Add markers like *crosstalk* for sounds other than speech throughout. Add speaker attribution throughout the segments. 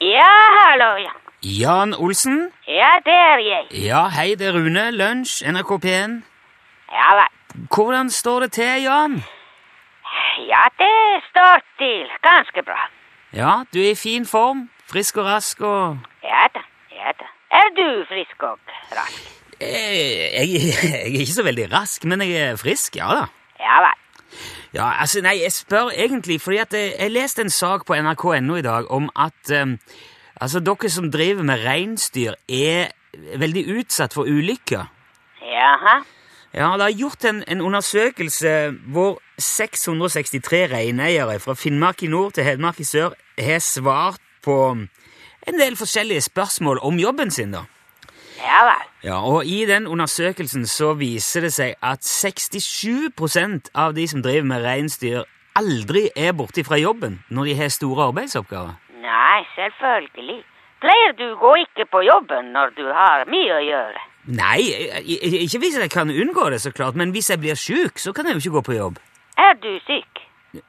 Speaker 1: Ja, hallo, ja.
Speaker 2: Jan Olsen?
Speaker 1: Ja, det er jeg.
Speaker 2: Ja, hei, det er Rune. Lunsj, NRK P1.
Speaker 1: Ja vel.
Speaker 2: Hvordan står det til, Jan?
Speaker 1: Ja, det står til ganske bra.
Speaker 2: Ja, du er i fin form. Frisk og rask og
Speaker 1: Ja da, ja da. Er du frisk og rask?
Speaker 2: Eh, jeg, *laughs* jeg er ikke så veldig rask, men jeg er frisk, ja da.
Speaker 1: Ja vel.
Speaker 2: Ja, altså, nei, jeg spør egentlig fordi at eh, jeg, jeg leste en sak på nrk.no i dag om at eh, altså, dere som driver med reinsdyr, er veldig utsatt for ulykker.
Speaker 1: Jaha.
Speaker 2: Ja, det er gjort en, en undersøkelse hvor 663 reineiere fra Finnmark i nord til Hedmark i sør har svart på en del forskjellige spørsmål om jobben sin, da.
Speaker 1: Ja vel.
Speaker 2: Ja, og I den undersøkelsen så viser det seg at 67 av de som driver med reinsdyr, aldri er borte fra jobben når de har store arbeidsoppgaver.
Speaker 1: Nei, selvfølgelig. Pleier du gå ikke på jobben når du har mye å gjøre?
Speaker 2: Nei, i- i- ikke hvis jeg kan unngå det, så klart, men hvis jeg blir sjuk, så kan jeg jo ikke gå på jobb.
Speaker 1: Er du syk?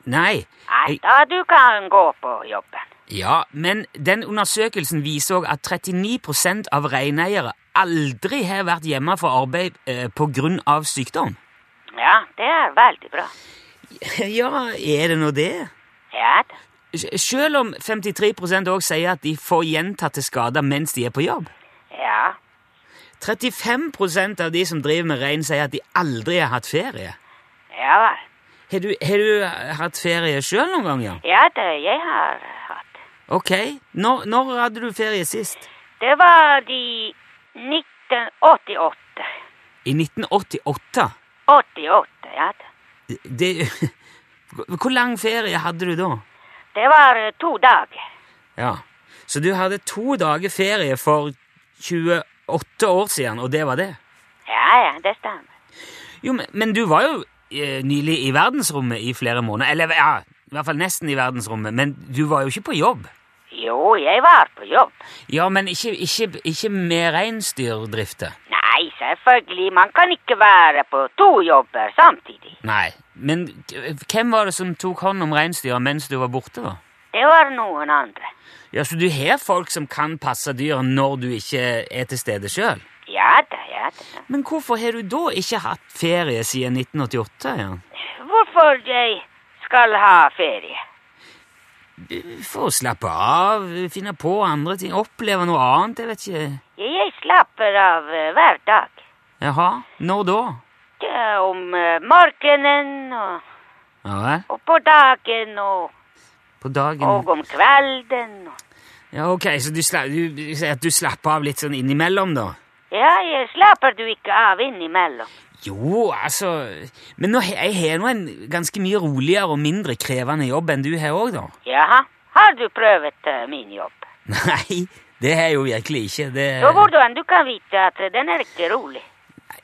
Speaker 2: Nei.
Speaker 1: Nei,
Speaker 2: jeg-
Speaker 1: da du kan gå på jobben.
Speaker 2: Ja, men den undersøkelsen viser òg at 39 av reineiere aldri har vært hjemme fra arbeid eh, pga. sykdom.
Speaker 1: Ja, det er veldig bra.
Speaker 2: *laughs* Ja, er det nå det?
Speaker 1: Ja da.
Speaker 2: Sj- Selv om 53 òg sier at de får gjentatte skader mens de er på jobb.
Speaker 1: Ja.
Speaker 2: 35 av de som driver med rein, sier at de aldri har hatt ferie.
Speaker 1: Ja vel.
Speaker 2: Har du, har du eh, hatt ferie sjøl noen gang, ja?
Speaker 1: Ja da, jeg har hatt.
Speaker 2: Ok. Når, når hadde du ferie sist?
Speaker 1: Det var i 1988.
Speaker 2: I 1988.
Speaker 1: 88, ja da.
Speaker 2: Det *laughs* Hvor hvor lang ferie hadde du da?
Speaker 1: Det var eh, to dager.
Speaker 2: Ja. Så du hadde to dager ferie for 28 år siden, og det var det?
Speaker 1: Ja, ja, det stemmer.
Speaker 2: Jo, men, men du var jo eh, nylig i verdensrommet i flere måneder. Eller ja, i hvert fall nesten i verdensrommet, men du var jo ikke på jobb.
Speaker 1: Jo, jeg var på jobb.
Speaker 2: Ja, men ikke, ikke, ikke med reinsdyrdrifter.
Speaker 1: Nei, selvfølgelig. Man kan ikke være på to jobber samtidig.
Speaker 2: Nei. Men k- hvem var det som tok hånd om reinsdyra mens du var borte, da?
Speaker 1: Det var noen andre.
Speaker 2: Ja, Så du har folk som kan passe dyra når du ikke er til stede sjøl?
Speaker 1: Ja da, ja da.
Speaker 2: Men hvorfor har du da ikke hatt ferie siden 1988? Jan?
Speaker 1: Hvorfor jeg skal ha ferie?
Speaker 2: For å slappe av, finne på andre ting, oppleve noe annet, jeg vet ikke.
Speaker 1: Jeg slapper av eh, hver dag.
Speaker 2: Jaha, når da?
Speaker 1: Det er Om eh, morgenen og,
Speaker 2: Ja vel,
Speaker 1: og på dagen og,
Speaker 2: på dagen
Speaker 1: og om kvelden. og-
Speaker 2: Ja, ok, så du, sla du, du sier at du slapper av litt sånn innimellom, da?
Speaker 1: Ja, jeg slapper du ikke av innimellom.
Speaker 2: Jo, altså Men nå, he- jeg har nå en ganske mye roligere og mindre krevende jobb enn du har òg, da. *laughs*
Speaker 1: Jaha. Har du prøvd eh, min jobb?
Speaker 2: Nei, det har jeg jo virkelig ikke. Det
Speaker 1: Så hvordan du kan vite at den er ikke rolig?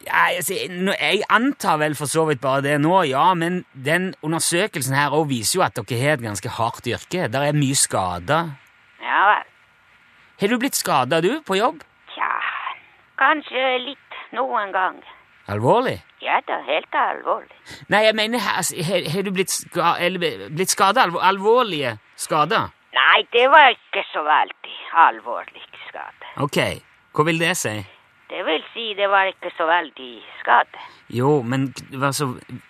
Speaker 2: Nei, altså, nå- Jeg antar vel for så vidt bare det nå, ja, men den undersøkelsen her også viser jo at dere har et ganske hardt yrke. Der er mye skader.
Speaker 1: Ja vel.
Speaker 2: Har du blitt skada, du, på jobb?
Speaker 1: Tja, kanskje litt noen gang.
Speaker 2: Alvorlig?
Speaker 1: Ja da, helt alvorlig.
Speaker 2: Nei, jeg mener, altså, har har du blitt, ska eller blitt skada? Alvor alvorlige skader?
Speaker 1: Nei, det var ikke så veldig alvorlig skade.
Speaker 2: Ok, hva vil det si?
Speaker 1: Det vil si, det var ikke så veldig skade.
Speaker 2: Jo, men k- vær så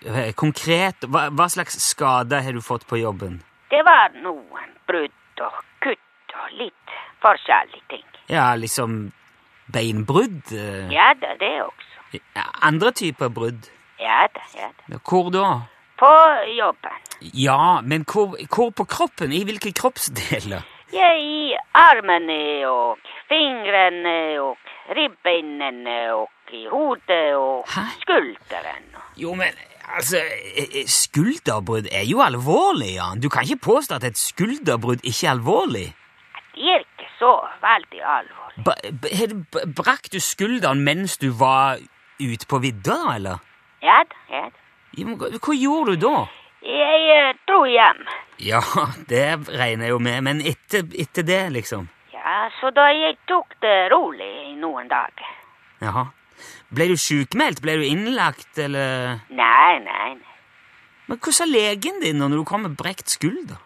Speaker 2: eh, konkret. Hva, hva slags skader har du fått på jobben?
Speaker 1: Det var noen brudd og kutt og litt forskjellige ting.
Speaker 2: Ja, liksom beinbrudd? eh,
Speaker 1: Ja da, det også.
Speaker 2: ja, Andre typer brudd?
Speaker 1: Ja da, ja da.
Speaker 2: Ja, Hvor da?
Speaker 1: På jobben.
Speaker 2: Ja, men hvor, hvor på kroppen? I hvilke kroppsdeler?
Speaker 1: Ja, i armene og fingrene og ribbenene og i hodet og
Speaker 2: Hæ?
Speaker 1: skulderen.
Speaker 2: Jo, men altså eh, eh, Skulderbrudd er jo alvorlig, Jan. Du kan ikke påstå at et skulderbrudd ikke er alvorlig.
Speaker 1: Det er ikke så veldig alvorlig.
Speaker 2: Ba, b- har du- b- brakk du skulderen mens du var ute på vidda, eller?
Speaker 1: Ja da, ja da.
Speaker 2: Jo, men Hva hva gjorde du da?
Speaker 1: Jeg eh, dro hjem.
Speaker 2: Ja, det regner jeg jo med, men etter, etter det, liksom.
Speaker 1: Ja, så da jeg tok det rolig i noen dager.
Speaker 2: Jaha. Ble du sjukmeldt? Ble du innlagt, eller
Speaker 1: Nei, nei, nei.
Speaker 2: Men hva sa legen din når du kom med brekt skulder?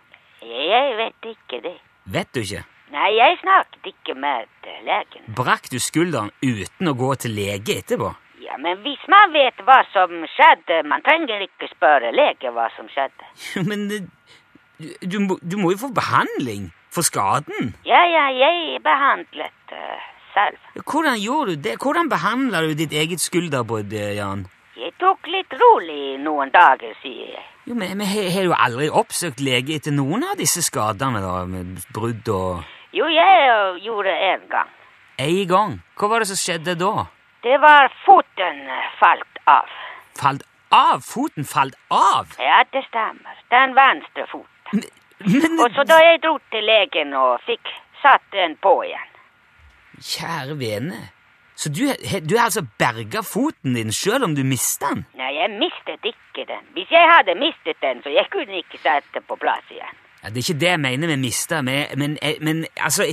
Speaker 1: Jeg vet ikke det.
Speaker 2: Vet du ikke?
Speaker 1: Nei, jeg snakket ikke med eh, legen.
Speaker 2: Brakk du skulderen uten å gå til lege etterpå?
Speaker 1: Ja, men hvis man vet hva som skjedde, man trenger ikke spørre lege hva som skjedde.
Speaker 2: Jo, *laughs* Men eh, du, du må- du må jo få behandling for skaden.
Speaker 1: Ja, ja, jeg behandlet eh, selv.
Speaker 2: Hvordan gjorde du det? Hvordan behandla du ditt eget skulderbrudd, eh, Jan?
Speaker 1: Jeg tok litt rolig noen dager, sier jeg.
Speaker 2: Jo, men men har har du aldri oppsøkt lege etter noen av disse skadene, da? Med brudd og
Speaker 1: Jo, jeg eh, gjorde en gang.
Speaker 2: Én gang. Hva var det som skjedde da?
Speaker 1: Det var foten eh, falt av.
Speaker 2: Falt av? Foten falt av?
Speaker 1: Ja, det stemmer. Den venstre foten.
Speaker 2: Men, men
Speaker 1: Og så da jeg dro til legen og fikk satt den på igjen.
Speaker 2: Kjære vene. Så du, he- du har altså berga foten din sjøl om du mista den?
Speaker 1: Nei, jeg mistet ikke den. Hvis jeg hadde mistet den, så jeg kunne ikke sette på plass igjen.
Speaker 2: Ja, det er ikke det jeg mener med mista, men, men, men altså,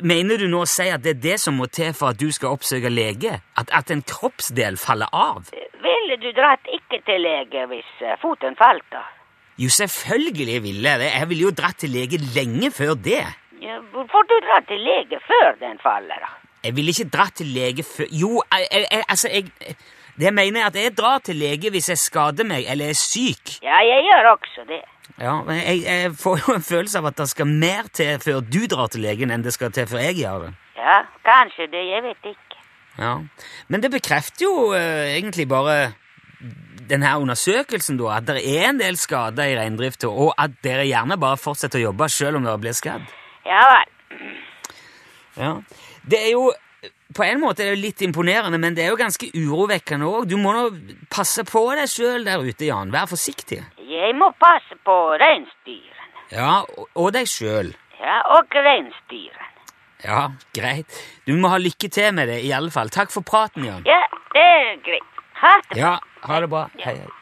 Speaker 2: mener du nå å si at det er det som må til for at du skal oppsøke lege? At, at en kroppsdel faller av?
Speaker 1: Ville du dratt ikke til lege hvis eh, foten falt av?
Speaker 2: Jo, selvfølgelig ville jeg det. Jeg ville jo dratt til lege lenge før det.
Speaker 1: Ja, Hvorfor du drar til lege før den faller av?
Speaker 2: Jeg ville ikke dratt til lege før Jo, jeg, jeg, jeg, altså, jeg Det jeg mener er at jeg drar til lege hvis jeg skader meg eller er syk.
Speaker 1: Ja, jeg gjør også det.
Speaker 2: Ja, men jeg, jeg får jo en følelse av at det skal mer til før du drar til legen, enn det skal til før jeg gjør det.
Speaker 1: Ja, kanskje det, jeg vet ikke.
Speaker 2: Ja, Men det bekrefter jo eh, egentlig bare denne undersøkelsen, da, at det er en del skader i reindrifta, og at dere gjerne bare fortsetter å jobbe selv om dere blir skadd.
Speaker 1: Ja vel.
Speaker 2: Ja. Det er jo på en måte er det jo litt imponerende, men det er jo ganske urovekkende òg. Du må nå passe på deg sjøl der ute, Jan. Vær forsiktig.
Speaker 1: Jeg må passe på reinsdyrene.
Speaker 2: Ja, og- og deg sjøl.
Speaker 1: Ja, og reinsdyrene.
Speaker 2: Ja, greit. Du må ha lykke til med det, i alle fall. Takk for praten, Jan.
Speaker 1: Ja, det er greit. Ha det.
Speaker 2: Ja, ha det bra. Hei, hei.